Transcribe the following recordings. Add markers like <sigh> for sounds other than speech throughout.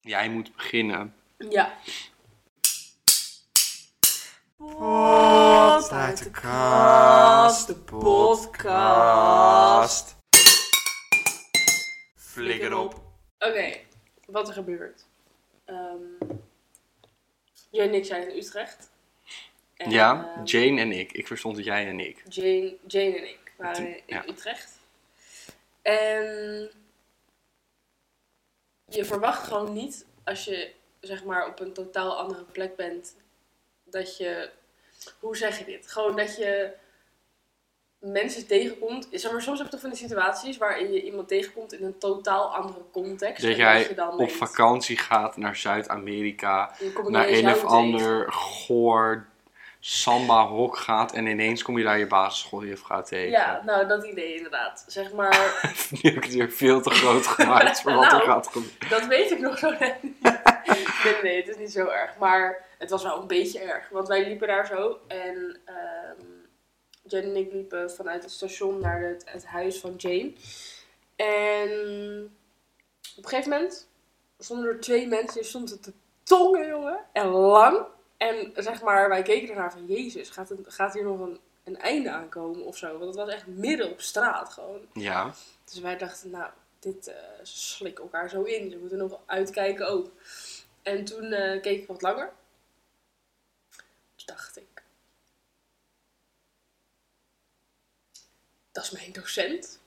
Jij moet beginnen. Ja. Pot uit de kast, de podcast. Flikker op. Oké, wat er gebeurt. Ehm Jane en ik zijn in Utrecht. En, ja, ehm, Jane en ik. Ik verstond dat jij en ik. Jane, Jane en ik waren in Ja. Utrecht. En je verwacht gewoon niet als je zeg maar op een totaal andere plek bent dat je hoe zeg je dit? Gewoon dat je mensen tegenkomt. Zeg maar, soms heb je toch van die situaties waarin je iemand tegenkomt in een totaal andere context. Dat En je jij dan op denkt, vakantie gaat naar Zuid-Amerika, dan kom ik naar ineens een of jou tegen. ander goor samba-hok gaat en ineens kom je daar je basisschooljuff gaat tegen. Ja, nou dat idee inderdaad. Zeg maar, <laughs> Nu heb ik het weer veel te groot <laughs> gemaakt voor wat er Nou. gaat gebeuren. Dat weet ik nog zo net niet. <laughs> nee, nee, het is niet zo erg. Maar het was wel een beetje erg. Want wij liepen daar zo. En ehm Jen en ik liepen vanuit het station naar het, het huis van Jane. En op een gegeven moment stonden er twee mensen. Die stonden te tongen, jongen. En lang. En zeg maar, wij keken ernaar van... Jezus, gaat, het, gaat hier nog een, een einde aankomen of zo? Want het was echt midden op straat gewoon. Ja, Dus wij dachten, nou, dit eh, ze slikken elkaar zo in. Ze moeten nog uitkijken ook. En toen eh, keek ik wat langer. Toen dacht ik, dat is mijn docent.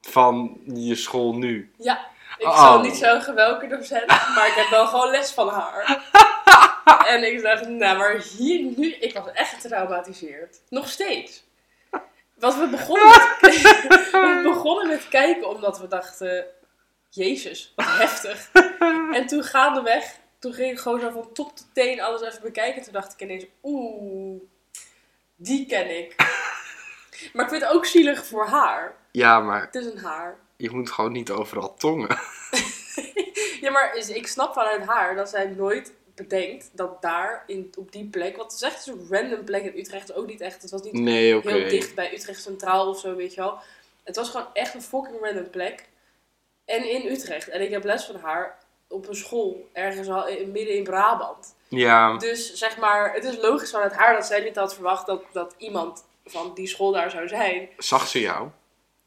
van je school nu. Ja, ik Oh. zal niet zeggen welke docent, maar ik heb wel gewoon les van haar. en ik dacht, nou, maar hier nu, ik was echt getraumatiseerd. Nog steeds. Want we begonnen, met, <laughs> we begonnen met kijken omdat we dachten, jezus, wat heftig. En toen gaandeweg, toen ging ik gewoon zo van top tot teen alles even bekijken. Toen dacht ik ineens, oeh, die ken ik. Maar ik vind het ook zielig voor haar. Ja, maar Het is een haar. je moet gewoon niet overal tongen. Ja, maar is- ik snap vanuit haar dat zij nooit bedenkt dat daar, in, op die plek... Want het is echt een random plek in Utrecht, ook niet echt. Het was niet Nee, oké. heel dicht bij Utrecht Centraal of zo, weet je wel. Het was gewoon echt een fucking random plek. En in Utrecht. En ik heb les van haar op een school, ergens al in, midden in Brabant. Ja, Dus zeg maar, het is logisch vanuit haar dat zij niet had verwacht dat, dat iemand van die school daar zou zijn. zag ze jou?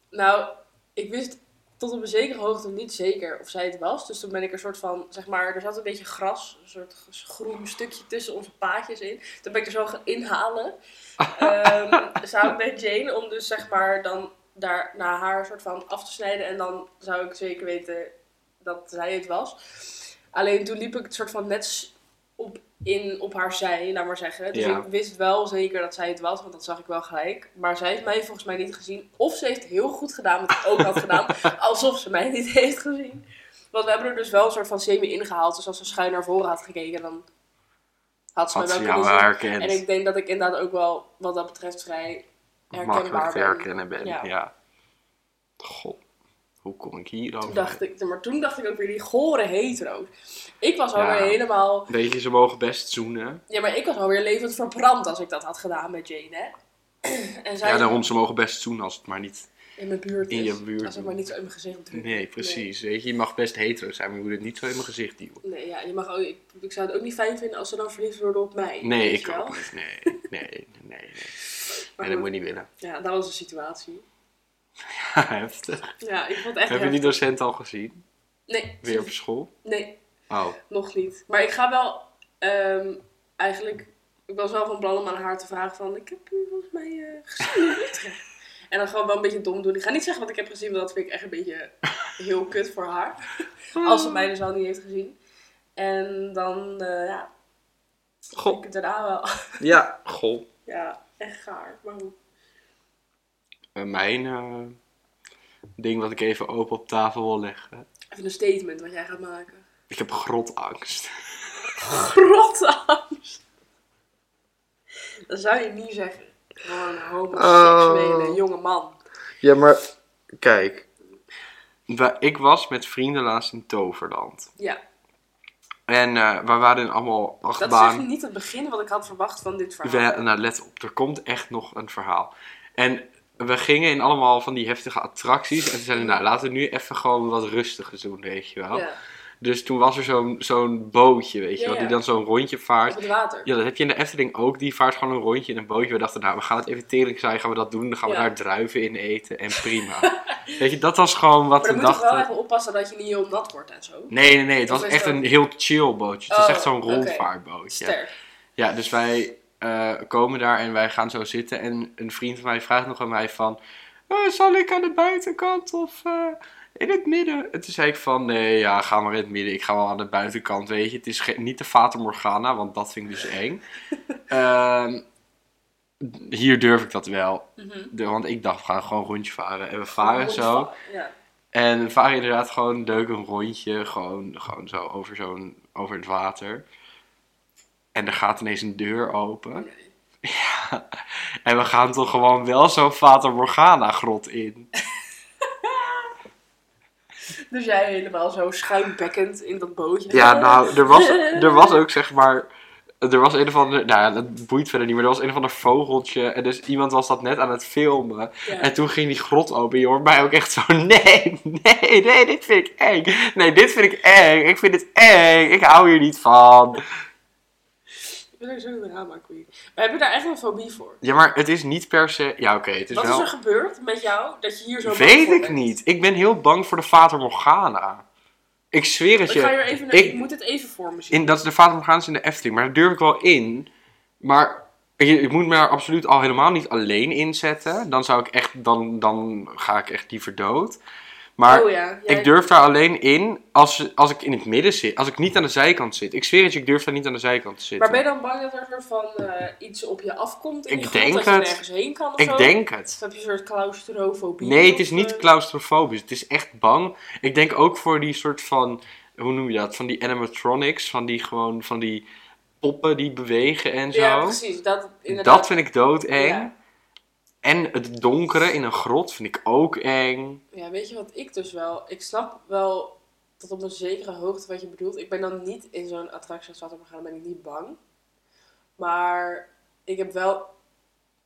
Nou, ik wist tot op een zekere hoogte niet zeker of zij het was. Dus toen ben ik er soort van, zeg maar, er zat een beetje gras, een soort groen stukje tussen onze paadjes in. Toen ben ik er zo gaan <laughs> inhalen. ehm, samen met Jane, om dus zeg maar dan daar naar haar soort van af te snijden. En dan zou ik zeker weten dat zij het was. Alleen toen liep ik het soort van net s- op, in, op haar zij, laat maar zeggen. Dus Ja. ik wist wel zeker dat zij het was, want dat zag ik wel gelijk. Maar zij heeft mij volgens mij niet gezien. Of ze heeft heel goed gedaan wat ik ook had <laughs> gedaan, alsof ze mij niet heeft gezien. Want we hebben er dus wel een soort van semi ingehaald. Dus als ze schuin naar voren had gekeken, dan had ze Had mij ze wel jou kunnen zien. herkend? En ik denk dat ik inderdaad ook wel, wat dat betreft, vrij herkenbaar makkelijk te ben. herkennen ben. Ja. Ja. Goh, hoe kom ik hier Toen dan? dacht ik, maar toen dacht ik ook weer die gore hetero. Ik was Ja. alweer helemaal, Weet je, ze mogen best zoenen. ja, maar ik was alweer levend verbrand als ik dat had gedaan met Jane, hè. <clears throat> en zij Ja, daarom, ze mogen best zoenen als het maar niet... in mijn buurt in is. je buurt Als ik maar niet zo in mijn gezicht druk. Nee, precies. Weet je, je mag best hetero zijn, maar je moet het niet zo in mijn gezicht duwen. Nee, ja, je mag ook, ik, ik zou het ook niet fijn vinden als ze dan verliefd worden op mij. Nee, weet ik je wel. ook niet. Nee, <laughs> nee, nee, nee. Maar Nee, dat goed, moet je niet willen. <laughs> Ja, dat was de situatie. Heftig. Ja, ik vond het echt Heb je die heftig. docent al gezien? Nee, Weer op school? nee, Oh, Nog niet. Maar ik ga wel ehm, eigenlijk. Ik was wel van plan om aan haar te vragen van ik heb u volgens mij eh, gezien in Utrecht. <laughs> En dan gewoon wel een beetje dom doen. Ik ga niet zeggen wat ik heb gezien, want dat vind ik echt een beetje heel kut voor haar. Als ze mij dus al niet heeft gezien. En dan, eh, ja, goh. ik het daarna wel. <laughs> Ja, goh. ja, echt gaar. Maar hoe? Eh, Mijn eh, ding wat ik even open op tafel wil leggen. Even een statement wat jij gaat maken. <laughs> Ik heb grotangst. <laughs> Grotangst. Dat zou je niet zeggen. Gewoon een homoseksuele Oh. jonge man. Ja, maar kijk. Ik was met vrienden laatst in Toverland. Ja, En eh, we waren in allemaal Dat is echt achtbaan. niet het begin wat ik had verwacht van dit verhaal. We, nou, let op, er komt echt nog een verhaal. En we gingen in allemaal van die heftige attracties. En toen zeiden we, nou, laten we nu even gewoon wat rustigers doen, weet je wel. Ja. Dus toen was er zo'n zo'n bootje, weet je Ja, wel, die ja. dan zo'n rondje vaart. Op het water. Ja, dat heb je in de Efteling ook. Die vaart gewoon een rondje in een bootje. We dachten, nou, we gaan het even tering zijn. Gaan we dat doen? Dan gaan we Ja. daar druiven in eten. En <laughs> prima. Weet je, dat was gewoon wat maar dan we moet je wel dachten. even oppassen dat je niet heel nat wordt en zo. Nee, nee, nee. Het Of was is echt dat- een heel chill bootje. Het is Oh, echt zo'n oké. rondvaartbootje. Sterk. Ja, dus wij eh, komen daar en wij gaan zo zitten. En een vriend van mij vraagt nog aan mij van... "Eh, zal ik aan de buitenkant of eh, in het midden? En toen zei ik van... Nee, ja, ga maar in het midden. Ik ga wel aan de buitenkant, weet je. Het is ge- niet de Fata Morgana, want dat vind ik dus <laughs> eng. Ehm, hier durf ik dat wel. Mhm. De- want ik dacht, we gaan gewoon een rondje varen. En we varen zo. Ja. En we varen inderdaad gewoon leuk een rondje, gewoon, gewoon zo over, zo'n, over het water. En er gaat ineens een deur open. <laughs> Nee. En we gaan toch gewoon wel zo'n Fata Morgana grot in. Dus jij helemaal zo schuimbekkend in dat bootje. Ja, nou, er <laughs> was, er was ook zeg maar... Er was een of ander... Nou ja, dat boeit verder niet, maar er was een of ander vogeltje. En dus iemand was dat net aan het filmen. Ja. En toen ging die grot open, joh. Maar ook echt zo, <laughs> nee, nee, nee, dit vind ik eng. Nee, dit vind ik eng. Ik vind het eng. Ik hou hier niet van. Ik ben ook zo'n drama queen. We hebben daar echt een fobie voor. Ja, maar het is niet per se. Ja, oké, het is Wat wel. is er gebeurd met jou dat je hier zo bang Weet voor ik bent? niet. Ik ben heel bang voor de Vater Morgana. Ik zweer het Ik je. ga hier even naar, ik- ik, moet het even voor me zien. In, dat is de Vater Morgana is in de Efteling, maar daar durf ik wel in. Maar je, ik moet me daar absoluut al helemaal niet alleen inzetten. Dan zou ik echt, dan, dan ga ik echt liever dood. Maar oh ja, jij- ik durf daar alleen in als, als ik in het midden zit. Als ik niet aan de zijkant zit. Ik zweer het je, ik durf daar niet aan de zijkant te Maar zitten. ben je dan bang dat er een soort van eh, iets op je afkomt? In Ik die grot, denk dat je het. nergens heen kan of zo? ik denk het. Of heb je een soort claustrofobie? Nee, het of, is niet eh, claustrofobisch. Het is echt bang. Ik denk ook voor die soort van, hoe noem je dat? Van die animatronics, van die gewoon, van die poppen die bewegen en zo. Ja, precies. Dat, inderdaad. dat vind ik doodeng. Ja. En het donkere in een grot vind ik ook eng. Ja, weet je wat ik dus wel... Ik snap wel tot op een zekere hoogte wat je bedoelt. Ik ben dan niet in zo'n attractie als Waterman gaan, ben ik niet bang. Maar ik heb wel...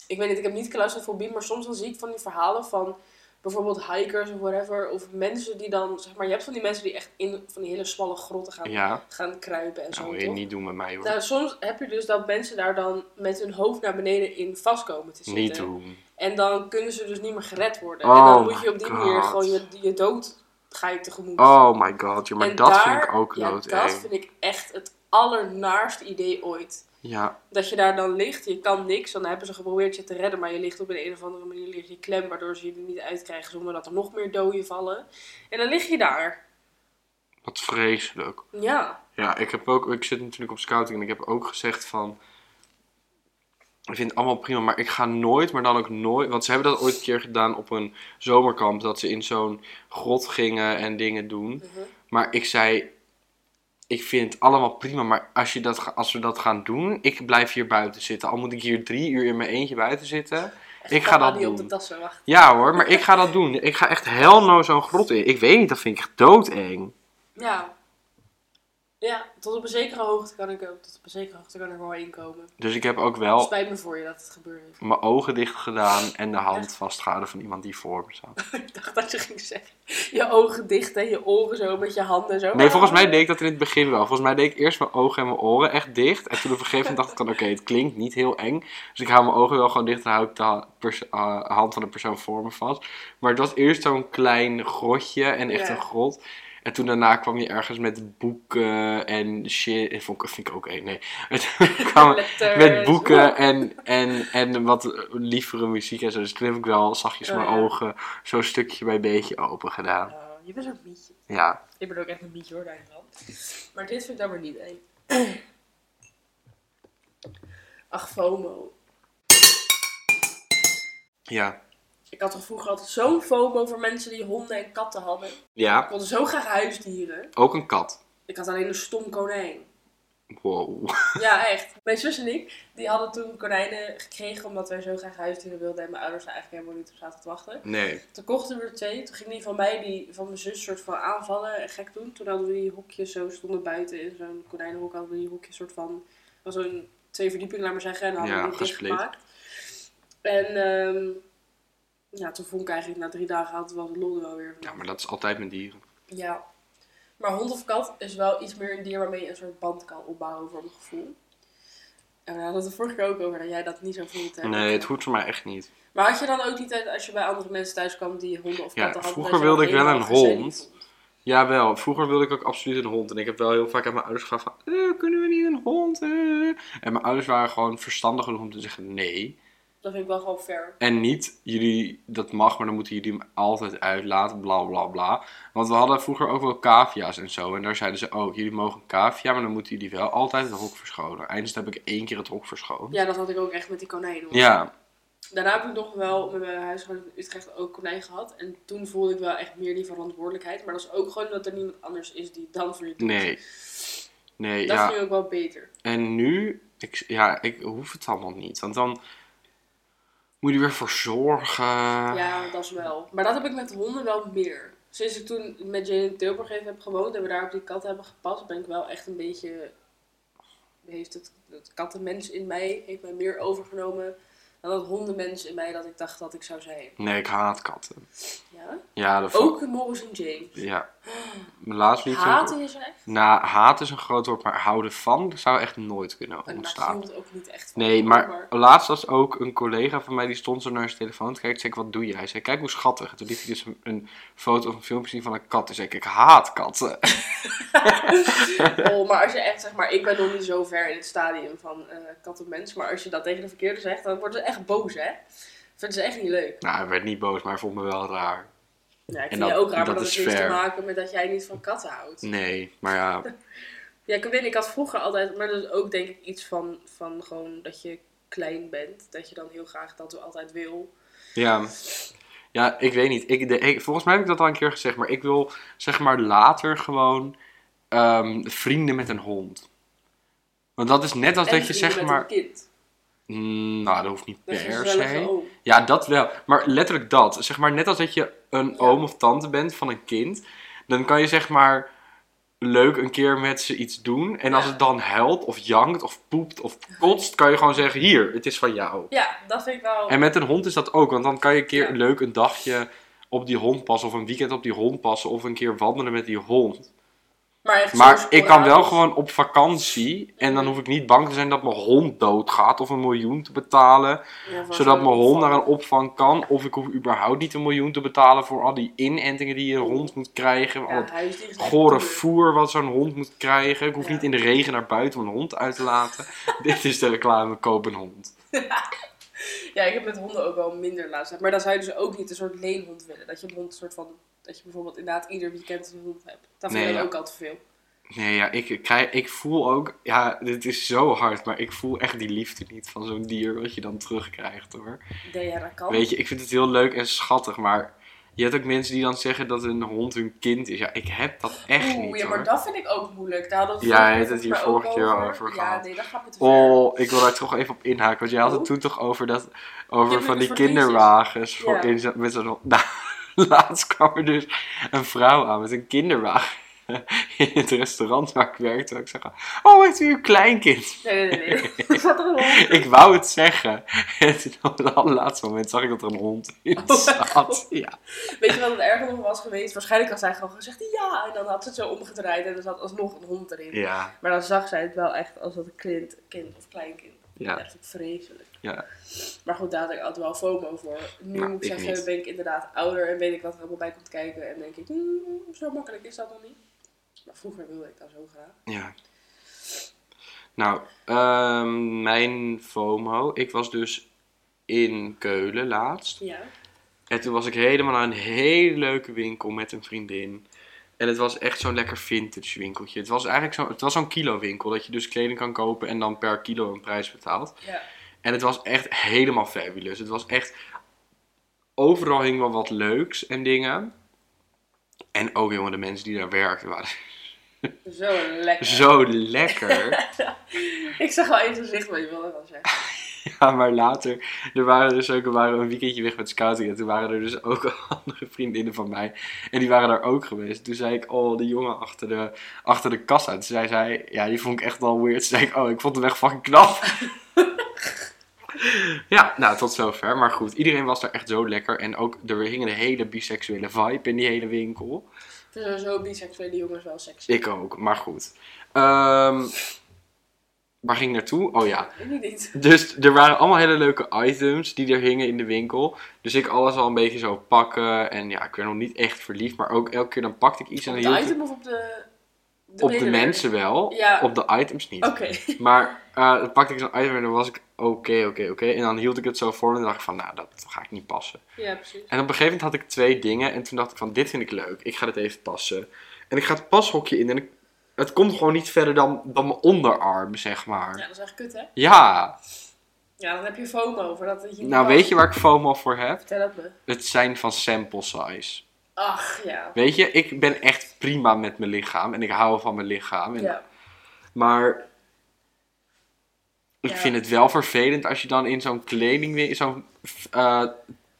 Ik weet niet, ik heb niet claustrofobie, maar soms dan zie ik van die verhalen van bijvoorbeeld hikers of whatever. Of mensen die dan, zeg maar, je hebt van die mensen die echt in van die hele smalle grotten gaan, Ja, gaan kruipen en zo. nou, wil je toch? niet doen met mij hoor. Nou, soms heb je dus dat mensen daar dan met hun hoofd naar beneden in vastkomen te zitten. niet doen. En dan kunnen ze dus niet meer gered worden. Oh en dan moet my je op die manier God. gewoon je, je dood ga je tegemoet. Oh my god, joh, maar En dat daar- vind ik ook ja, doodeng. Dat vind ik echt het allernaarste idee ooit. Ja, Dat je daar dan ligt, je kan niks. Dan hebben ze geprobeerd je te redden, maar je ligt op een, een of andere manier ligt je klem, waardoor ze je er niet uitkrijgen zonder dat er nog meer doden vallen. En dan lig je daar. wat vreselijk. Ja. Ja, ik, heb ook, ik zit natuurlijk op scouting en ik heb ook gezegd van... Ik vind het allemaal prima, maar ik ga nooit, maar dan ook nooit... Want ze hebben dat ooit een keer gedaan op een zomerkamp. Dat ze in zo'n grot gingen en dingen doen. Mhm. Maar ik zei... Ik vind het allemaal prima, maar als, je dat, ga- als we dat gaan doen... Ik blijf hier buiten zitten. Al moet ik hier drie uur in mijn eentje buiten zitten. Ik ga Papa dat die op doen. de tassen wacht. Ja hoor, maar ik ga dat doen. Ik ga echt hel no zo'n grot in. Ik weet niet, dat vind ik echt doodeng. Ja. Ja, tot op een zekere hoogte kan ik ook. Tot op een zekere hoogte kan ik er wel inkomen. Dus ik heb ook wel Spijt me voor je dat het gebeurd is. mijn ogen dicht gedaan en de hand vastgehouden van iemand die voor me zat. Ik dacht dat je ging zeggen. Je ogen dicht en je oren zo met je handen zo. Nee, volgens mij deed ik dat in het begin wel. Volgens mij deed ik eerst mijn ogen en mijn oren echt dicht. En toen op een gegeven moment dacht ik dan, oké, het klinkt niet heel eng. Dus ik hou mijn ogen wel gewoon dicht en hou ik de ha- pers- eh, hand van de persoon voor me vast. Maar het was eerst zo'n klein grotje en echt Ja. een grot. En toen daarna kwam je ergens met boeken en shit. Ik vond, vind ik ook eng, nee. <laughs> En toen kwamen- Eh, met boeken en, en, en wat lievere muziek en zo. Dus toen heb ik wel zachtjes Oh, mijn ja. ogen zo'n stukje bij beetje open gedaan. Oh, je bent ook mietje. Ja. Ik ben ook echt een mietje hoor, daar wel. Maar dit vind ik dan maar niet eng. <clears throat> Ach, FOMO. Ja. Ik had toch vroeger altijd zo'n FOMO voor mensen die honden en katten hadden. Ik Ja, wilde zo graag huisdieren. ook een kat. Ik had alleen een stom konijn. Wow. Ja, echt. Mijn zus en ik die hadden toen konijnen gekregen omdat wij zo graag huisdieren wilden. En mijn ouders daar eigenlijk helemaal niet op zaten te wachten. Nee. Toen kochten we er twee. Toen ging die van mij, die van mijn zus, soort van aanvallen en gek doen. Toen hadden we die hokjes zo, stonden buiten in zo'n konijnenhok. Hadden we die hokjes soort van, was zo'n twee verdiepingen, laat maar zeggen. En dan hadden Ja, we die gesplit. dichtgemaakt. En ehm, ja, toen vond ik eigenlijk na drie dagen had het wel de lol er wel weer van. Ja, maar dat is altijd met dieren. Ja. Maar hond of kat is wel iets meer een dier waarmee je een soort band kan opbouwen voor mijn gevoel. En we hadden het er vorige keer ook over dat jij dat niet zo voelt. hè? Nee, het hoeft voor mij echt niet. Maar had je dan ook niet als je bij andere mensen thuis kwam die honden of Ja, katten hadden? vroeger dat je wilde dan ik wel een helemaal gezellig hond. vond? Jawel, vroeger wilde ik ook absoluut een hond. En ik heb wel heel vaak aan mijn ouders gevraagd van, "Eh, kunnen we niet een hond? eh?" En mijn ouders waren gewoon verstandig genoeg om te zeggen nee. Dat vind ik wel gewoon fair. En niet, jullie, dat mag, maar dan moeten jullie hem altijd uitlaten, bla bla bla. Want we hadden vroeger ook wel cavia's en zo. En daar zeiden ze ook, jullie mogen een cavia, maar dan moeten jullie wel altijd het hok verschonen. Eindelijk heb ik één keer het hok verschoond. Ja, dat had ik ook echt met die konijnen. hoor. Ja, Daarna heb ik nog wel met mijn huisgenoot in Utrecht ook konijn gehad. En toen voelde ik wel echt meer die verantwoordelijkheid. Maar dat is ook gewoon dat er niemand anders is die dan voor je doet. nee. Nee, Dat ja. vind ik ook wel beter. En nu, ik, ja, ik hoef het allemaal niet. Want dan moet je er weer voor zorgen. Ja, dat is wel. Maar dat heb ik met honden wel meer. Sinds ik toen met Jane in Tilburg even heb gewoond en we daar op die kat hebben gepast, ben ik wel echt een beetje. Heeft het, het kattenmens in mij heeft mij meer overgenomen dan dat hondenmens in mij dat ik dacht dat ik zou zijn. Nee, ik haat katten. Ja? Ja, dat vond- Ook Morris en Jane. Ja. Mijn laatste liedje. Haten je ze echt? Nou, haat is een groot woord, maar houden van dat zou echt nooit kunnen En daar ontstaan. hield het ook niet echt van. Nee, maar laatst was ook een collega van mij die stond zo naar zijn telefoon te kijken. Ik zei, wat doe je? Hij zei, kijk hoe schattig. En Toen liet hij dus een, een foto of een filmpje zien van een kat. Toen zei ik, ik haat katten. <laughs> Oh, maar als je echt zeg maar, ik ben nog niet zo ver in het stadium van eh kat en mens, maar als je dat tegen de verkeerde zegt, dan worden ze echt boos, hè? Vinden ze echt niet leuk. Nou, hij werd niet boos, maar hij vond me wel raar. Ja, ik En vind dat- je ook raar, maar dat dat is heeft niks te fair. maken met dat jij niet van katten houdt. Nee, maar <laughs> ja, Ja, ik weet, ik had vroeger altijd, maar dat is ook denk ik iets van, van gewoon dat je klein bent. Dat je dan heel graag dat altijd wil. Ja. Ja, ik weet niet. Ik, de, ik- volgens mij heb ik dat al een keer gezegd, maar ik wil zeg maar later gewoon ehm, vrienden met een hond. Want dat is net als En dat je vrienden zeg met maar. Een kind. Mm, nou, dat hoeft niet Dat is een per gezellige se. oom. Ja, dat wel. Maar letterlijk dat. Zeg maar net als dat je een oom of tante bent van een kind, dan kan je zeg maar leuk een keer met ze iets doen. En als Ja. het dan huilt of jankt of poept of kotst, kan je gewoon zeggen: hier, het is van jou. Ja, dat vind ik wel. En met een hond is dat ook, want dan kan je een keer Ja. leuk een dagje op die hond passen, of een weekend op die hond passen, of een keer wandelen met die hond. maar echt Maar zo ik kan wel sporadisch. gewoon op vakantie en dan hoef ik niet bang te zijn dat mijn hond doodgaat of een miljoen te betalen, Ja, van zodat zo'n mijn hond naar een opvang. opvang kan. Of ik hoef überhaupt niet een miljoen te betalen voor al die inentingen die je hond moet krijgen, al Ja, het huisdier is echt gore duur. voer wat zo'n hond moet krijgen. Ik hoef Ja. niet in de regen naar buiten om een hond uit te <laughs> laten. Dit is de reclame, koop een hond. Ja, ik heb met honden ook wel minder laatst. Maar dan zou je dus ook niet een soort leenhond willen. Dat je een hond een soort van. Dat je bijvoorbeeld inderdaad ieder weekend een hond hebt. Dat vind Nee, ik ja. ook al te veel. Nee, ja, ik, ik krijg, ik voel ook, ja, dit is zo hard, maar ik voel echt die liefde niet van zo'n dier wat je dan terugkrijgt hoor. Nee, ja, dat kan. Weet je, ik vind het heel leuk en schattig, maar je hebt ook mensen die dan zeggen dat een hond hun kind is. Ja, ik heb dat echt Oeh, niet ja, hoor. maar dat vind ik ook moeilijk. Daar hadden we Ja, vorige je hebt keer het hier volgens mij vorige ook keer over Ja, gehad. nee, dat gaat me te ver. Oh, ik wil daar toch even op inhaken, want jij had het Oh. toen toch over dat, over Kinderen van die voor crisis. kinderwagens voor Ja. inzet met zo'n hond. <laughs> Nou, laatst kwam er dus een vrouw aan met een kinderwagen. <laughs> In het restaurant waar ik werkte, en ik zeg: Oh, heeft u een kleinkind? <laughs> Nee, nee, nee. nee. <laughs> Er zat er een hond. Ik wou het zeggen. <laughs> En toen op het allerlaatste moment zag ik dat er een hond in Oh, zat. Ja. Weet je wat het erger nog was geweest? Waarschijnlijk had zij gewoon gezegd ja. En dan had ze het zo omgedraaid en er zat alsnog een hond erin. Ja, Maar dan zag zij het wel echt als dat een kind, kind of kleinkind. Ja. Echt vreselijk. ja. Maar goed, daar had ik altijd wel FOMO voor. Nu Nou, moet ik ik zeggen, niet. ben ik inderdaad ouder en weet ik wat er allemaal bij komt kijken. En denk ik, hmm, zo makkelijk is dat nog niet. Maar vroeger wilde ik dat zo graag. ja. Nou, ehm, mijn FOMO. Ik was dus in Keulen laatst. Ja. En toen was ik helemaal naar een hele leuke winkel met een vriendin. En het was echt zo'n lekker vintage winkeltje. Het was eigenlijk zo, het was zo'n kilo winkel. Dat je dus kleding kan kopen en dan per kilo een prijs betaalt. Ja. En het was echt helemaal fabulous. Het was echt. Overal hing wel wat leuks en dingen. En ook jongen, de mensen die daar werkten waren <laughs> Zo lekker. zo lekker. <laughs> Ik zag wel eens een zicht, maar je wilde wel zeggen. Ja, maar later, er waren dus ook, we waren een weekendje weg met scouting. En toen waren er dus ook <laughs> andere vriendinnen van mij. En die waren daar ook geweest. Toen zei ik, oh, die jongen achter de, achter de kassa. Toen zei zij, ja, die vond ik echt wel weird. Toen zei ik, oh, ik vond hem echt fucking knap. ja, nou, tot zover. Maar goed, iedereen was daar echt zo lekker. En ook, er hing een hele biseksuele vibe in die hele winkel. vind sowieso biseksuele jongens wel sexy. Ik ook, maar goed. Ehm, waar ging ik naartoe? Oh ja. Ik weet niet. Dus er waren allemaal hele leuke items die er hingen in de winkel. Dus ik alles al een beetje zo pakken. En ja, ik werd nog niet echt verliefd. Maar ook elke keer dan pakte ik iets en Op dan de hield ik- item of op de... de Op de medewerker? mensen wel, Ja. op de items niet. Oké. Maar eh, dan pakte ik zo'n item en dan was ik oké, oké, oké. En dan hield ik het zo voor en dan dacht ik van, nou, dat ga ik niet passen. Ja, precies. En op een gegeven moment had ik twee dingen. En toen dacht ik van, dit vind ik leuk. Ik ga dit even passen. En ik ga het pashokje in. En ik- het komt gewoon niet verder dan, dan mijn onderarm, zeg maar. Ja, Ja. dat is echt kut, hè? Ja, dan heb je FOMO voor dat het je niet Nou, past. weet je waar ik FOMO voor heb? Vertel het me. Het zijn van sample size. Ach, ja. Weet je, ik ben echt prima met mijn lichaam. En ik hou van mijn lichaam. En, Ja. Maar... Ik Ja. vind het wel vervelend als je dan in zo'n kledingwinkel, zo'n eh,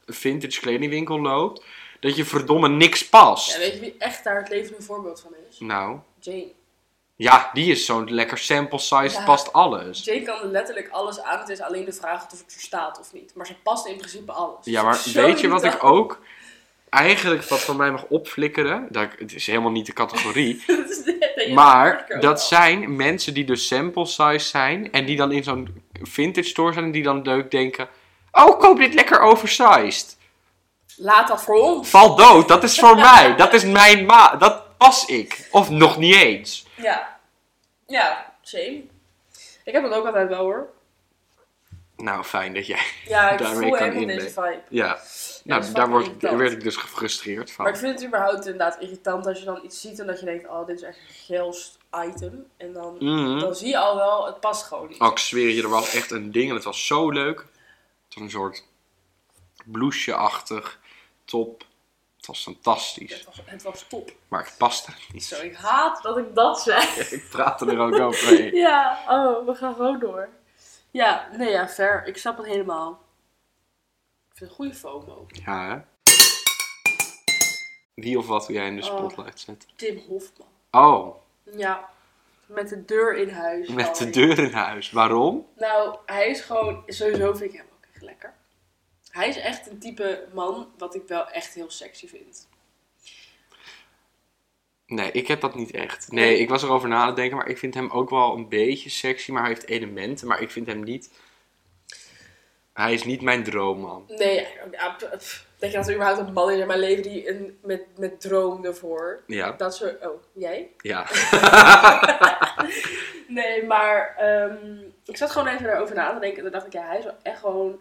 vintage kledingwinkel loopt, dat je verdomme niks past. ja. Weet je wie echt daar het levende voorbeeld van is? Nou, Jane. Ja, die is zo'n lekker sample size, Ja. past alles. Jane kan letterlijk alles aan. Het is alleen de vraag of het verstaat of niet. Maar ze past in principe alles. Ja, maar Zo weet je wat irritant. ik ook eigenlijk wat van mij mag opflikkeren? Dat, ik- het is helemaal niet de categorie. <laughs> Dat is net een- Maar ook dat al. zijn mensen die dus sample size zijn en die dan in zo'n vintage store zijn en die dan leuk denken... Oh, koop dit lekker oversized. Laat dat voor ons. Val dood, dat is <laughs> voor mij. Dat is mijn ma... Dat pas ik. Of nog niet eens. Ja. Ja, same. Ik heb dat ook altijd wel hoor. Nou, fijn dat jij... Ja, ik Daarmee voel kan helemaal inleven. deze vibe. Ja, dat nou, is daar word ik, fucking irritant. werd ik dus gefrustreerd van. Maar ik vind het überhaupt inderdaad irritant als je dan iets ziet en dat je denkt, oh, dit is echt een geilst item. En dan, Mhm. dan zie je al wel, het past gewoon niet. Oh, ik zweer je, er was echt een ding en het was zo leuk. Het was een soort blouseje-achtig top. Het was fantastisch, Het, was, het was top. maar het paste niet. Zo, ik haat dat ik dat zeg. <laughs> Ik praatte er ook overheen. Ja, oh, we gaan gewoon door. Ja, nee, ja, fair. Ik snap het helemaal. Ik vind het een goede FOMO. Ja, hè? Wie of wat wil jij in de Oh. spotlight zetten? Tim Hofman. Oh, Ja, met de deur in huis. Oh, met de Sorry. deur in huis. Waarom? Nou, hij is gewoon, sowieso vind ik hem ook echt lekker. Hij is echt een type man wat ik wel echt heel sexy vind. Nee, ik heb dat niet echt. Nee, ik was erover na aan het denken, maar ik vind hem ook wel een beetje sexy. Maar hij heeft elementen, maar ik vind hem niet... Hij is niet mijn droomman. Nee, ja, p- pff, denk je dat er überhaupt een man is in mijn leven die een, met, met droom ervoor? Ja, Dat soort, oh, jij? ja. Nee, maar ehm, ik zat gewoon even erover na te denken en toen dacht ik, ja, hij is wel echt gewoon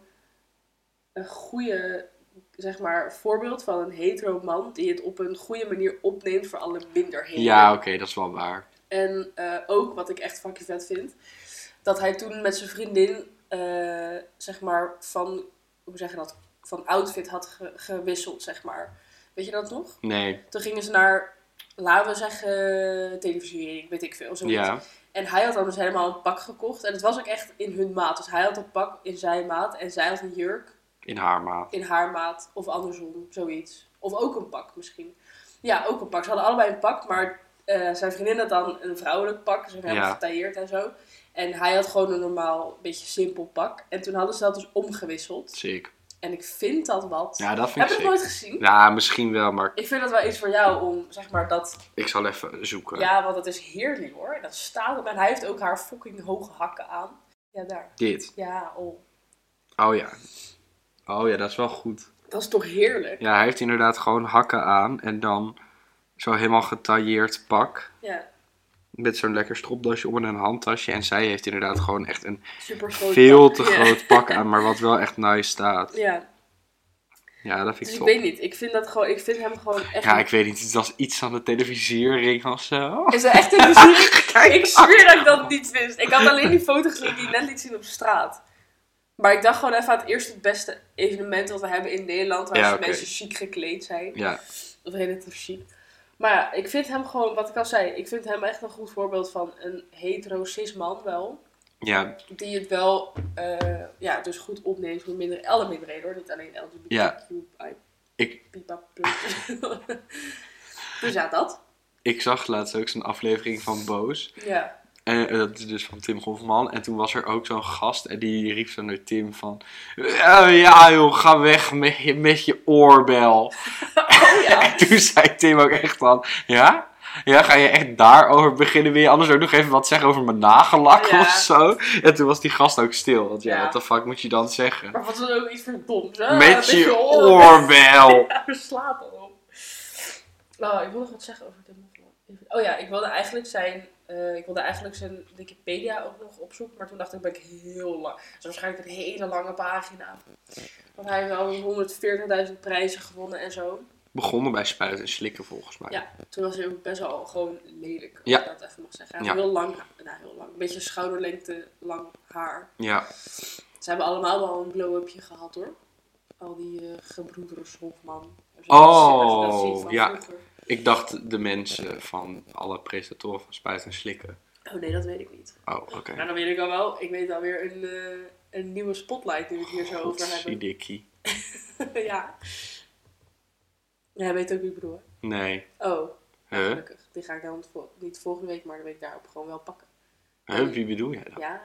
een goede, zeg maar, voorbeeld van een hetero man die het op een goede manier opneemt voor alle minderheden. Ja, oké, dat is wel waar. En eh, ook, wat ik echt fucking vet vind, dat hij toen met zijn vriendin, eh, zeg maar, van, hoe zeg je dat, van outfit had ge- gewisseld, zeg maar. Weet je dat nog? Nee, Toen gingen ze naar, laten we zeggen, televisiering, weet ik veel, zoiets. ja. En hij had dan dus helemaal een pak gekocht. En het was ook echt in hun maat. Dus hij had een pak in zijn maat en zij had een jurk In haar maat. in haar maat of andersom, zoiets. Of ook een pak misschien. Ja, ook een pak. Ze hadden allebei een pak, maar eh, zijn vriendin had dan een vrouwelijk pak. Ze hebben Ja. getailleerd en zo. En hij had gewoon een normaal, beetje simpel pak. En toen hadden ze dat dus omgewisseld. Sick. En ik vind dat wat. Ja, dat vind Heb ik je het sick. nooit gezien? Ja, misschien wel, maar Ik vind dat wel iets voor jou om, zeg maar, dat... ik zal even zoeken. Ja, want dat is heerlijk hoor. En dat staat op. En hij heeft ook haar fucking hoge hakken aan. Ja, daar. Dit. Ja, oh. Oh ja. Oh ja, dat is wel goed. Dat is toch heerlijk? Ja, hij heeft inderdaad gewoon hakken aan en dan zo helemaal getailleerd pak. Ja. Met zo'n lekker stropdasje om en een handtasje. En zij heeft inderdaad gewoon echt een Super groot veel pak. te Ja. groot pak aan, maar wat wel echt nice staat. Ja. Ja, dat vind Dus ik ik top. weet niet, ik vind, dat gewoon, ik vind hem gewoon echt... Ja, ik weet niet. Het was iets aan de televisiering of zo. Is er echt een plezier? ik zweer dat ik dat niet wist. Ik had alleen die foto gezien die ik net liet zien op straat. Maar ik dacht gewoon even aan het eerste beste evenement dat we hebben in Nederland. Waar Ja, ze oké. mensen chic gekleed zijn. Ja, Of relatief chic. Maar ja, ik vind hem gewoon, wat ik al zei, ik vind hem echt een goed voorbeeld van een hetero cis man wel. ja, Die het wel eh, ja, dus goed opneemt voor minder, alle minderheden hoor. Niet alleen LGBTQ. Ja. Ik- dus ja, dat. ik zag laatst ook zo'n aflevering van Boos. Ja. En eh, dat is dus van Tim Hofman. En toen was er ook zo'n gast en die riep zo naar Tim van... "Eh, ja joh, ga weg met je, met je oorbel. Oh <laughs> ja. Toen zei Tim ook echt van, ja? Ja, ga je echt daarover beginnen? Wil je anders ook nog even wat zeggen over mijn nagellak Ja. of zo? En toen was die gast ook stil. Want ja, Ja. what the fuck moet je dan zeggen? <laughs> Maar wat is ook iets voor doms, hè? Met je Een beetje oorbel. <laughs> Ja, we slapen op. Nou, ik wil nog wat zeggen over dit nog. Oh ja, ik wilde eigenlijk zijn, eh, ik wilde eigenlijk zijn Wikipedia ook nog opzoeken, maar toen dacht ik, ben ik heel lang. Dat is waarschijnlijk een hele lange pagina. Want hij heeft al 140.000 prijzen gewonnen en zo. Begonnen bij spuiten en slikken volgens mij. Ja, toen was hij ook best wel gewoon lelijk, als Ja. ik dat even mag zeggen. Hij Ja. had heel lang, nou heel lang, een beetje schouderlengte lang haar. Ja. Ze hebben allemaal wel een blow-upje gehad hoor. Al die eh, gebroeders Hofman. Als je Oh, dat- als je dat ziet van ja. vroeger. Ik dacht de mensen van alle presentatoren van spuiten en slikken. Oh nee, dat weet ik niet. Oh, oké. Maar dan weet ik al wel, ik weet alweer een, eh, een nieuwe spotlight die we het hier Oh, zo over hebben. Godzidikkie. <laughs> ja. Jij weet ook wie ik bedoel. hè? Nee. Oh, nou, Huh? gelukkig. Die ga ik dan vol- niet volgende week, maar de week daarop gewoon wel pakken. Huh? Wie bedoel jij dan? Ja.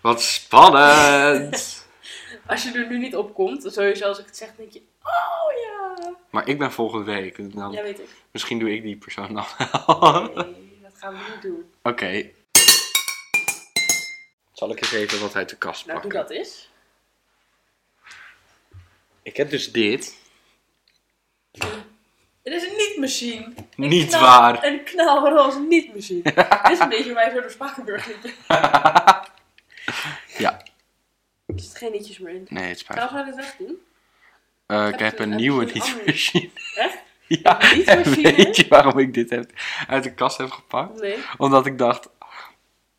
Wat spannend! <laughs> Als je er nu niet op komt, sowieso als ik het zeg, denk je, oh ja. maar ik ben volgende week. dus Dan, Ja, weet ik. Misschien doe ik die persoon dan wel. Oké. Nee, dat gaan we niet doen. Zal ik eens even wat uit de kast Nou, pakken? doe dat eens. Ik heb dus dit. Het is een niet-machine. Een Niet knal- waar. Een knalroze <laughs> niet-machine. Dit is een beetje waar je zo door Spakenburg <laughs> liepen. Ja. Er zitten geen nietjes meer in. Nee, het spijt me. Gaan we dit weg doen? Eh, Heb ik heb je- een heb nieuwe je een andere? nietmachine. <laughs> Echt? Ja, Een nietmachine? en <laughs> weet je waarom ik dit heb, uit de kast heb gepakt? Nee. Omdat ik dacht...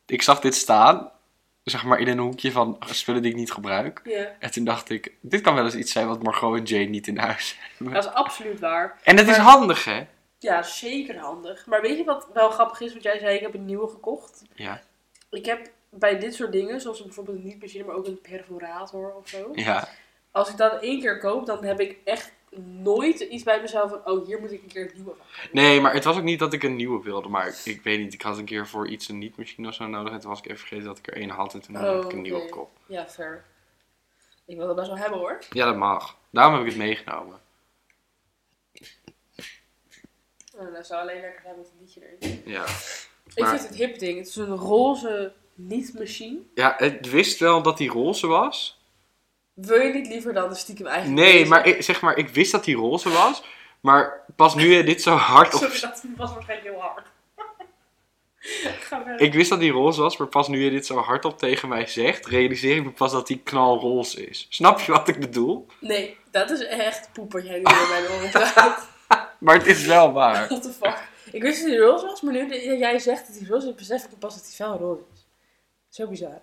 Ik zag dit staan, zeg maar in een hoekje van spullen die ik niet gebruik. Ja. En toen dacht ik, dit kan wel eens iets zijn wat Margot en Jane niet in huis hebben. Dat is absoluut waar. En het is Maar- handig, hè? Ja, zeker handig. Maar weet je wat wel grappig is? Want jij zei, ik heb een nieuwe gekocht. Ja. Ik heb bij dit soort dingen, zoals bijvoorbeeld een niet-machine, maar ook een perforator of zo. Ja. Als ik dat één keer koop, dan heb ik echt nooit iets bij mezelf van, oh, hier moet ik een keer een nieuwe van kopen. Nee, maar het was ook niet dat ik een nieuwe wilde. Maar ik weet niet, ik had een keer voor iets een niet-machine of zo nodig. En toen was ik even vergeten dat ik er één had. En toen Oh, heb ik een nieuwe oké. gekocht. Ja, fair. Ik wil dat best wel hebben hoor. Ja, dat mag. Daarom heb ik het meegenomen. Nou, dat zou alleen lekker zijn met een liedje erin. Ja. Ik Maar- vind het hip ding. Het is een roze niet-machine. Ja, het wist wel dat die roze was. Wil je niet liever dan de stiekem eigen Nee, keuze? maar ik, zeg maar, ik wist dat die roze was. Maar pas nu je dit zo hard <laughs> Sorry, op... dat was waarschijnlijk heel hard. <laughs> Ga verder. Ik wist dat die roze was, maar pas nu je dit zo hardop tegen mij zegt, realiseer ik me pas dat die knalroze is. Snap je wat ik bedoel? Nee, dat is echt poeper. Jij nu weer bij <laughs> de oren praat. Maar het is wel <laughs> waar. What the fuck. Ik wist dat die roze was, maar nu dat jij zegt dat die roze is, besef ik pas dat die fel roze is. Zo bizar.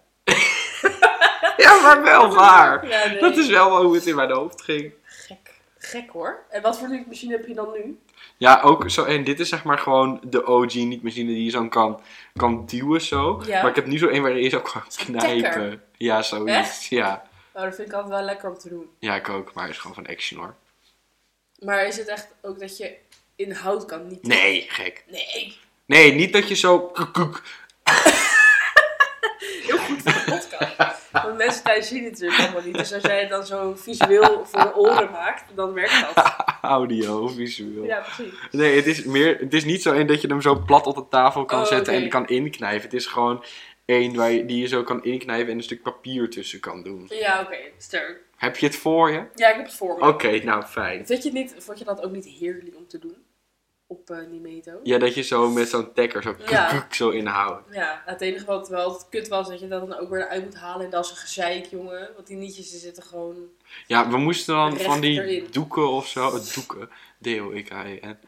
Ja, maar wel waar. Ja, nee. Dat is wel hoe het in mijn hoofd ging. Gek. Gek hoor. En wat voor niet-machine heb je dan nu? Ja, ook zo. En dit is zeg maar gewoon de OG niet-machine die je zo kan, kan duwen zo. Ja. Maar ik heb nu zo een waarin je zo kan knijpen. tekker. Ja, zoiets. Echt? Ja. Nou, dat vind ik altijd wel lekker om te doen. ja, ik ook. Maar het is gewoon van action hoor. Maar is het echt ook dat je in hout kan niet? Nee, gek. Nee, Nee, niet dat je zo... koek, koek. heel goed voor de podcast. Want mensen thuis zien het natuurlijk allemaal niet. Dus als jij het dan zo visueel voor de oren maakt, dan werkt dat. Audio, visueel. Ja, precies. Nee, het is, meer, het is niet zo één dat je hem zo plat op de tafel kan Oh, zetten en oké. kan inknijpen. Het is gewoon één waar je, die je zo kan inknijpen en een stuk papier tussen kan doen. Ja, oké, sterk. Heb je het voor je? Ja, ik heb het voor me. Oké, nou fijn. Vind je het niet, vond je dat ook niet heerlijk om te doen? Op eh, Nimeto? Ja, dat je zo met zo'n tekker zo, koek, Ja. koek, zo inhoudt. Ja, het enige wat wel altijd kut was, dat je dat dan ook weer uit moet halen. En dat is een gezeik, jongen. Want die nietjes die zitten gewoon... Ja, we moesten dan Recht van die erin. doeken of zo. eh, Doeken. E D-O-E-K-E-N.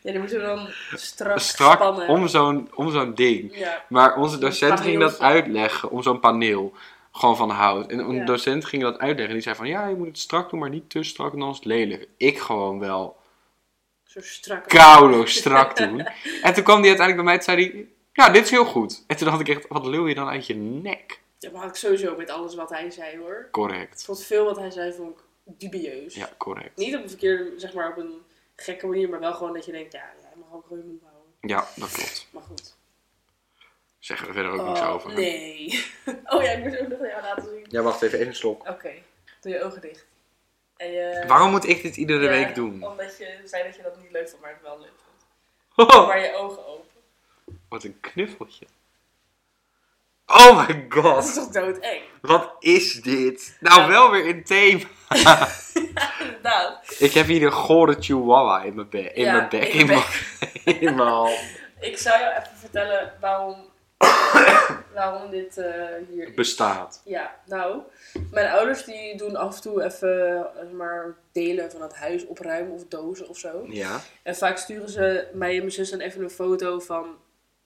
Ja, die moeten dan strak, Strak spannen. om zo'n, om zo'n ding. Ja. Maar onze docent ging dat paneeltje. uitleggen om zo'n paneel. Gewoon van hout. En een Ja. docent ging dat uitleggen. En die zei van ja, je moet het strak doen, maar niet te strak, want anders is het lelijk. Ik gewoon wel Zo strak. koulo <laughs> strak doen. En toen kwam die uiteindelijk bij mij en zei die, ja, dit is heel goed. En toen dacht ik echt, wat lul je dan uit je nek? Ja, maar had ik sowieso met alles wat hij zei hoor. Ik Correct. vond veel wat hij zei vond ik dubieus. Ja, correct. Niet op een verkeerde, zeg maar op een gekke manier, maar wel gewoon dat je denkt, ja, hij mag ook gewoon je mond houden. Ja, dat klopt. Maar goed. Zeggen we verder ook Oh, niks over. <laughs> Nee. oh ja, ik moest ook nog aan jou laten zien. Ja, wacht even, even een slok. Oké, doe je ogen dicht. En je- Waarom moet ik dit iedere Ja, week doen? <laughs> Omdat je zei dat je dat niet leuk vond, maar het wel leuk vond. Oh, Maar je ogen open. wat een knuffeltje. Oh my Dat is god. toch doodeng? Wat is dit? Nou, Ja. wel weer in thema. Inderdaad. Ik heb hier een gore chihuahua in mijn bek. In Ja, mijn bek. in je In mijn <laughs> in mijn hand. Ik zou jou even vertellen waarom, <coughs> waarom dit eh, hier is. Bestaat. Ja, nou, mijn ouders die doen af en toe even eh, maar delen van het huis opruimen of dozen of zo. Ja. En vaak sturen ze mij en mijn zus dan even een foto van...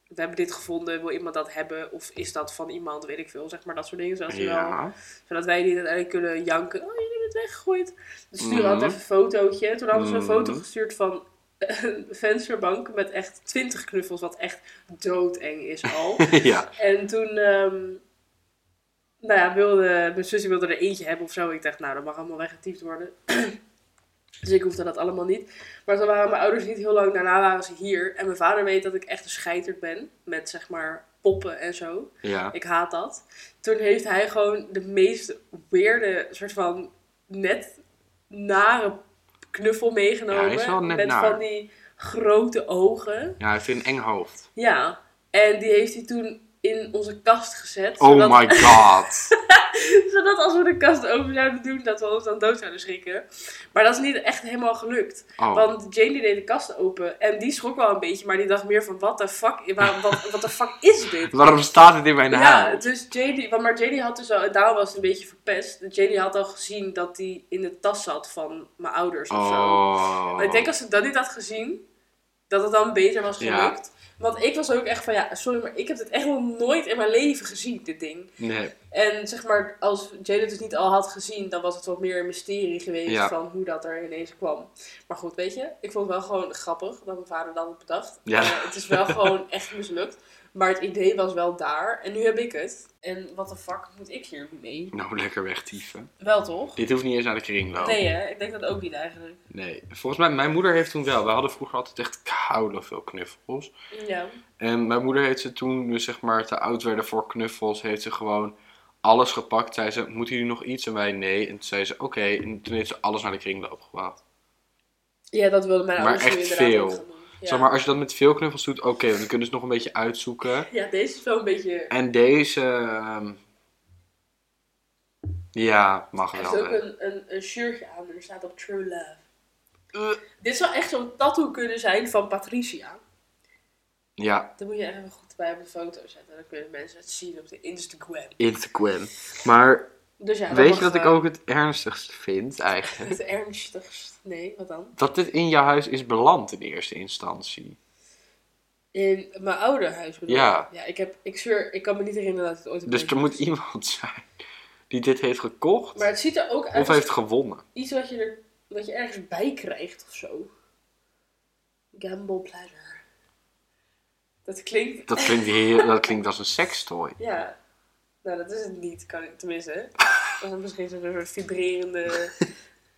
We hebben dit gevonden, wil iemand dat hebben? Of is dat van iemand, weet ik veel. Zeg maar dat soort dingen. Zodat, ze wel, Ja. <laughs> zodat wij niet uiteindelijk kunnen janken. Oh, jullie hebben het weggegooid. Dus sturen Mhm. altijd even een fotootje. Toen hadden ze een foto Mhm. gestuurd van <laughs> een vensterbank met echt 20 knuffels. Wat echt doodeng is al. ja. En toen, ehm, nou ja, wilde, mijn zusje wilde er eentje hebben of zo. Ik dacht, nou, dat mag allemaal weggetiefd worden. <clears throat> dus ik hoefde dat allemaal niet. Maar toen waren mijn ouders niet heel lang daarna waren ze hier. En mijn vader weet dat ik echt een scheiterd ben met, zeg maar, poppen en zo. Ja. Ik haat dat. Toen heeft hij gewoon de meest weerde, soort van, net nare knuffel meegenomen. Ja, hij is wel net met naar. van die grote ogen. Ja, hij heeft een eng hoofd. Ja, en die heeft hij toen in onze kast gezet. Oh zodat, my god. <laughs> zodat als we de kast open zouden doen, dat we ons dan dood zouden schrikken. Maar dat is niet echt helemaal gelukt. Oh. Want Jane die deed de kast open en die schrok wel een beetje, maar die dacht meer van, wat de fuck, waar- wat, wat de fuck <laughs> is dit? Waarom staat dit in mijn Ja, huis? dus JD, want maar JD had dus al, en daarom was het een beetje verpest. JD had al gezien dat hij in de tas zat van mijn ouders of zo. Oh. Maar ik denk als ze dat niet had gezien, dat het dan beter was Ja. gelukt. Want ik was ook echt van, ja, sorry, maar ik heb dit echt nog nooit in mijn leven gezien, dit ding. Nee. En zeg maar, als Jade het dus niet al had gezien, dan was het wat meer een mysterie geweest Ja. van hoe dat er ineens kwam. Maar goed, weet je, ik vond het wel gewoon grappig dat mijn vader dat had bedacht. Ja. Eh, het is <laughs> wel gewoon echt mislukt. Maar het idee was wel daar en nu heb ik het. En wat de fuck moet ik hier mee? Nou, lekker wegtieven. Wel toch? Dit hoeft niet eens aan de kringloop. Nee hè, ik denk dat ook niet eigenlijk. Nee. Volgens mij, mijn moeder heeft toen wel. We hadden vroeger altijd echt koud veel knuffels. Ja. En mijn moeder heeft ze toen, dus zeg maar, te oud werden voor knuffels, heeft ze gewoon alles gepakt. Zei ze, moeten jullie nog iets? En wij, nee. En toen zei ze, oké. En toen heeft ze alles naar de kringloop gebracht. Ja, dat wilde mijn Maar ouders nu echt inderdaad ook veel. gaan doen. Ja. Zeg maar, als je dat met veel knuffels doet, oké. want dan kunnen ze nog een beetje uitzoeken. Ja, deze is wel een beetje. En deze... ehm, Ja, mag Hij heeft wel. ook hè. een, een, een shirtje aan en er staat op True Love. Eh, Dit zou echt zo'n tattoo kunnen zijn van Patricia. Ja, Dan moet je echt even goed bij op de foto zetten. Dan kunnen mensen het zien op de Instagram. Instagram. Maar Dus ja, dat weet mag je wat ik wel. ook het ernstigst vind eigenlijk? <laughs> Het ernstigst. Nee, wat dan? Dat dit in jouw huis is beland in eerste instantie. In mijn oude huis bedoel ik. Ja. Ja, ik, heb, ik zweer, ik kan me niet herinneren dat het ooit op Dus deze er moet was. iemand <laughs> zijn die dit heeft gekocht. Maar het ziet er ook uit Of als heeft gewonnen. iets wat je, er, wat je ergens bij krijgt of zo. Gamble planner. Dat klinkt Dat klinkt, heel, dat klinkt als een <laughs> sekstooi. Ja, nou dat is het niet, kan ik tenminste. Of er misschien zo'n soort <laughs> vibrerende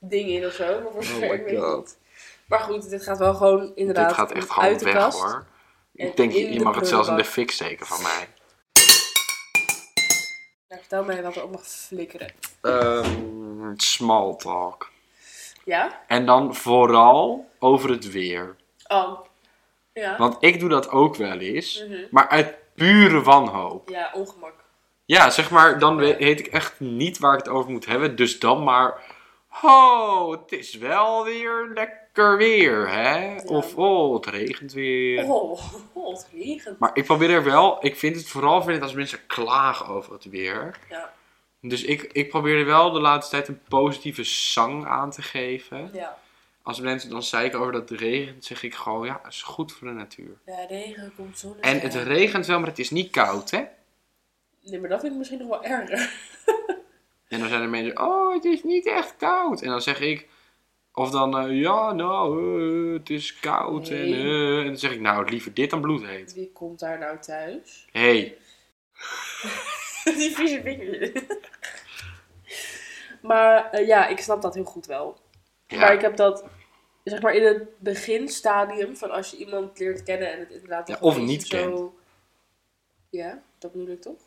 ding in of zo, maar voor zover Oh my ik weet God. het niet. Maar goed, dit gaat wel gewoon inderdaad Dit gaat echt gewoon uit de weg kast. hoor. en Ik denk, in je de mag het zelfs in de prullenbak. fik steken van mij. Nou, vertel mij wat er op mag flikkeren. Ehm small talk. Ja? En dan vooral over het weer. Oh. Ja? Want ik doe dat ook wel eens. Mhm. Maar uit pure wanhoop. Ja, ongemak. Ja, zeg maar, dan we- weet ik echt niet waar ik het over moet hebben. Dus dan maar... Oh, het is wel weer lekker weer, hè? Of, oh, het regent weer. Oh, <laughs> oh, het regent. Maar ik probeer er wel, ik vind het vooral vind het als mensen klagen over het weer. Ja, Dus ik, ik probeer er wel de laatste tijd een positieve zang aan te geven. ja. Als mensen dan zeiken over dat het regent, zeg ik gewoon, ja, is goed voor de natuur. Ja, regen komt zo En het regent wel, maar het is niet koud, hè? Nee, maar dat vind ik misschien nog wel erger. <laughs> En dan zijn er mensen, oh, het is niet echt koud. En dan zeg ik, of dan, eh, ja, nou, eh, het is koud. En, Nee. eh, en dan zeg ik, nou, liever dit dan bloedheet. Wie komt daar nou thuis? <laughs> Hé, hey, Die vieze vinger. <laughs> maar eh, ja, ik snap dat heel goed wel. Maar ja, ik heb dat, zeg maar, in het beginstadium van als je iemand leert kennen en het inderdaad... Ja, nog of een beetje niet kent. Ja, dat bedoel ik toch?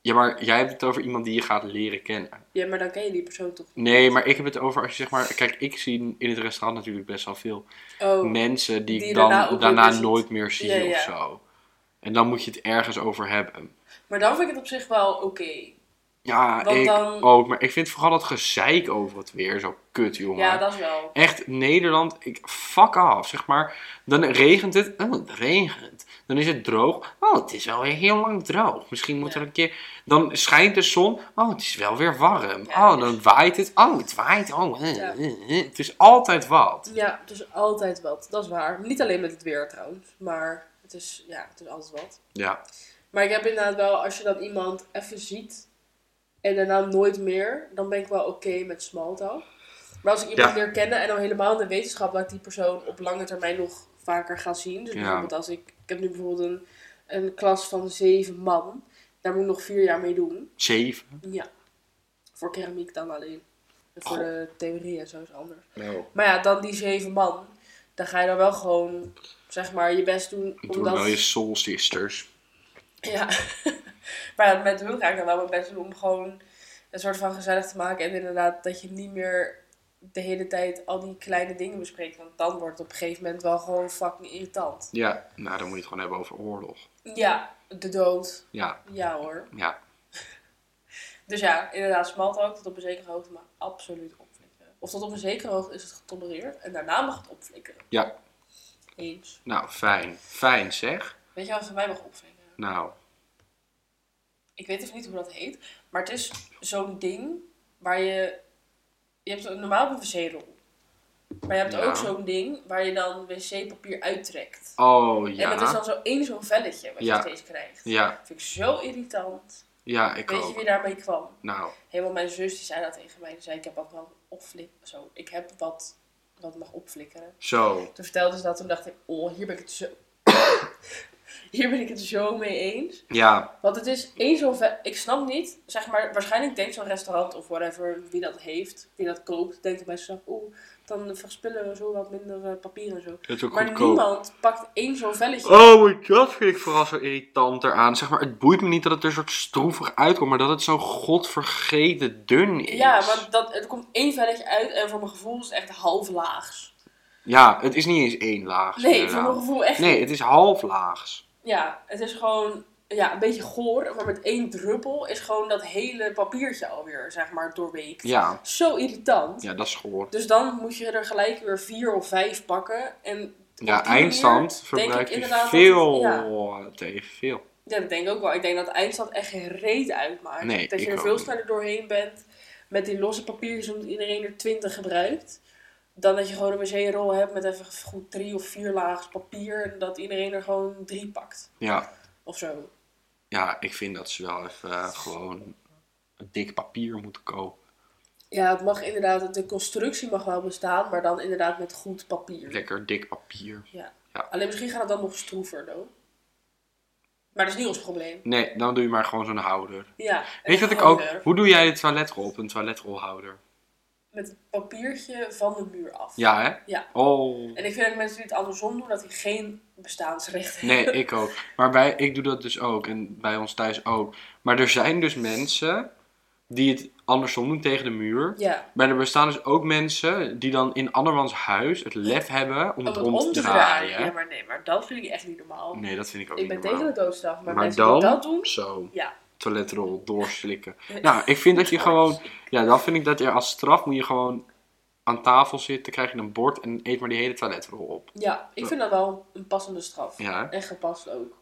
Ja, maar jij hebt het over iemand die je gaat leren kennen. Ja, maar dan ken je die persoon toch niet? Nee, maar ik heb het over als je zeg maar... Kijk, ik zie in het restaurant natuurlijk best wel veel Oh, mensen die, Die ik je dan daarna ook daarna, weer ziet. nooit meer zie Ja, ja. of zo. En dan moet je het ergens over hebben. maar dan vind ik het op zich wel oké. Ja, Want ik dan- ook. Maar ik vind vooral dat gezeik over het weer zo kut, jongen. Ja, dat is wel. Echt, Nederland, ik, fuck af, zeg maar. Dan regent het, oh, het regent. Dan is het droog, oh, het is wel weer heel lang droog. Misschien moet Ja. er een keer... Dan schijnt de zon, oh, het is wel weer warm. Ja, oh, dus- dan waait het, oh, het waait, oh. eh, Ja. eh, eh. Het is altijd wat. Ja, het is altijd wat. Dat is waar. Niet alleen met het weer trouwens, maar het is, ja, het is altijd wat. Ja, Maar ik heb inderdaad wel, als je dan iemand even ziet en daarna nooit meer, dan ben ik wel oké met smalltalk. Maar als ik iemand Ja. leer kennen en dan helemaal in de wetenschap dat ik die persoon op lange termijn nog vaker ga zien. Dus Ja. bijvoorbeeld als ik, ik heb nu bijvoorbeeld een, een klas van zeven man, daar moet ik nog vier jaar mee doen. zeven. Ja, voor keramiek dan alleen. En voor Goh. de theorie en zo is anders. Nou, Maar ja, dan die zeven man, dan ga je dan wel gewoon, zeg maar, je best doen. toen om wel dat je soul sisters. Ja, <laughs> maar met hun ga ik dan wel mijn best doen om gewoon een soort van gezellig te maken. En inderdaad, dat je niet meer de hele tijd al die kleine dingen bespreekt. Want dan wordt het op een gegeven moment wel gewoon fucking irritant. Ja, nou dan moet je het gewoon hebben over oorlog. Ja, de dood. Ja, Ja hoor. ja. Dus ja, inderdaad, smalt ook tot op een zekere hoogte, maar absoluut opflikkeren. Of tot op een zekere hoogte is het getolereerd en daarna mag het opflikkeren. Ja, Eens. nou fijn. Fijn zeg. Weet je wat van mij mag opflikkeren? Nou, ik weet even niet hoe dat heet, maar het is zo'n ding waar je, je hebt een- normaal heb je een zedel. Maar je hebt Ja. ook zo'n ding waar je dan wc-papier uittrekt. oh En dat is ja. dan zo één zo'n velletje wat Ja. je steeds krijgt. Ja, Vind ik zo irritant. ja, ik Weet je ook. wie daarmee kwam? Nou, Helemaal mijn zus die zei dat tegen mij. Die zei ik heb wat mag opflikkeren. Zo, ik heb wat wat mag opflikkeren. zo. Toen vertelde ze dat, toen dacht ik, oh, hier ben ik het zo... <coughs> hier ben ik het zo mee eens. Ja, Want het is één zo'n... ve- Ik snap niet, zeg maar, waarschijnlijk denkt zo'n restaurant of whatever, wie dat heeft, wie dat koopt, denkt bij zichzelf, oeh, dan verspillen we zo wat minder eh, papier en zo. het is ook Maar goedkoop. niemand pakt één zo'n velletje. Oh my god, vind ik vooral zo irritant eraan. Zeg maar, het boeit me niet dat het er soort stroevig uitkomt, maar dat het zo godvergeten dun is. Ja, want dat, er komt één velletje uit en voor mijn gevoel is het echt half laags. Ja, het is niet eens één laag. Nee, voor mijn gevoel echt Nee, het is half laags. Ja, het is gewoon ja, een beetje goor, maar met één druppel is gewoon dat hele papiertje alweer, zeg maar, doorweekt. Ja, Zo irritant. ja dat is gehoord. Dus dan moet je er gelijk weer vier of vijf pakken. En op Ja, die manier eindstand denk ik verbruikt hij inderdaad dat het- veel ja. tegen veel. Ja, dat denk ik ook wel. Ik denk dat eindstand echt geen reet uitmaakt. Nee, dat je ik er ook veel niet. sneller doorheen bent met die losse papiertjes omdat iedereen er twintig gebruikt. Dan dat je gewoon een wc-rol hebt met even goed drie of vier laags papier. En dat iedereen er gewoon drie pakt. Ja, Of zo. Ja, ik vind dat ze wel even eh, gewoon een dik papier moeten kopen. Ja, het mag inderdaad, de constructie mag wel bestaan, maar dan inderdaad met goed papier. Lekker dik papier. Ja. Ja. Alleen misschien gaat het dan nog stroever, though. Maar dat is niet ons probleem. Nee, dan doe je maar gewoon zo'n houder. Ja. Weet je wat ik ook... Helder. Hoe doe jij de toiletrol op een toiletrolhouder? Met het papiertje van de muur af. Ja, hè? Ja. Oh. En ik vind dat mensen die het andersom doen, dat die geen bestaansrecht hebben. Nee, <laughs> ik ook. Maar bij, ik doe dat dus ook. En bij ons thuis ook. Maar er zijn dus mensen die het andersom doen tegen de muur. Ja. Maar er bestaan dus ook mensen die dan in andermans huis het lef hebben om Om het het rond te Ja, draaien. maar nee, maar dat vind ik echt niet normaal. Nee, dat vind ik ook ik niet ben normaal. tegen de doodstraf, maar, Maar mensen dan- die dat doen, Zo. ja. toiletrol doorslikken. Nou, ik vind dat je gewoon... Ja, dan vind ik dat je als straf moet je gewoon aan tafel zitten, krijg je een bord en eet maar die hele toiletrol op. Ja, ik vind dat wel een passende straf. Ja, hè? En gepast ook.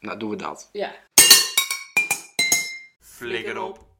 nou doen we dat. Ja. Flikker op.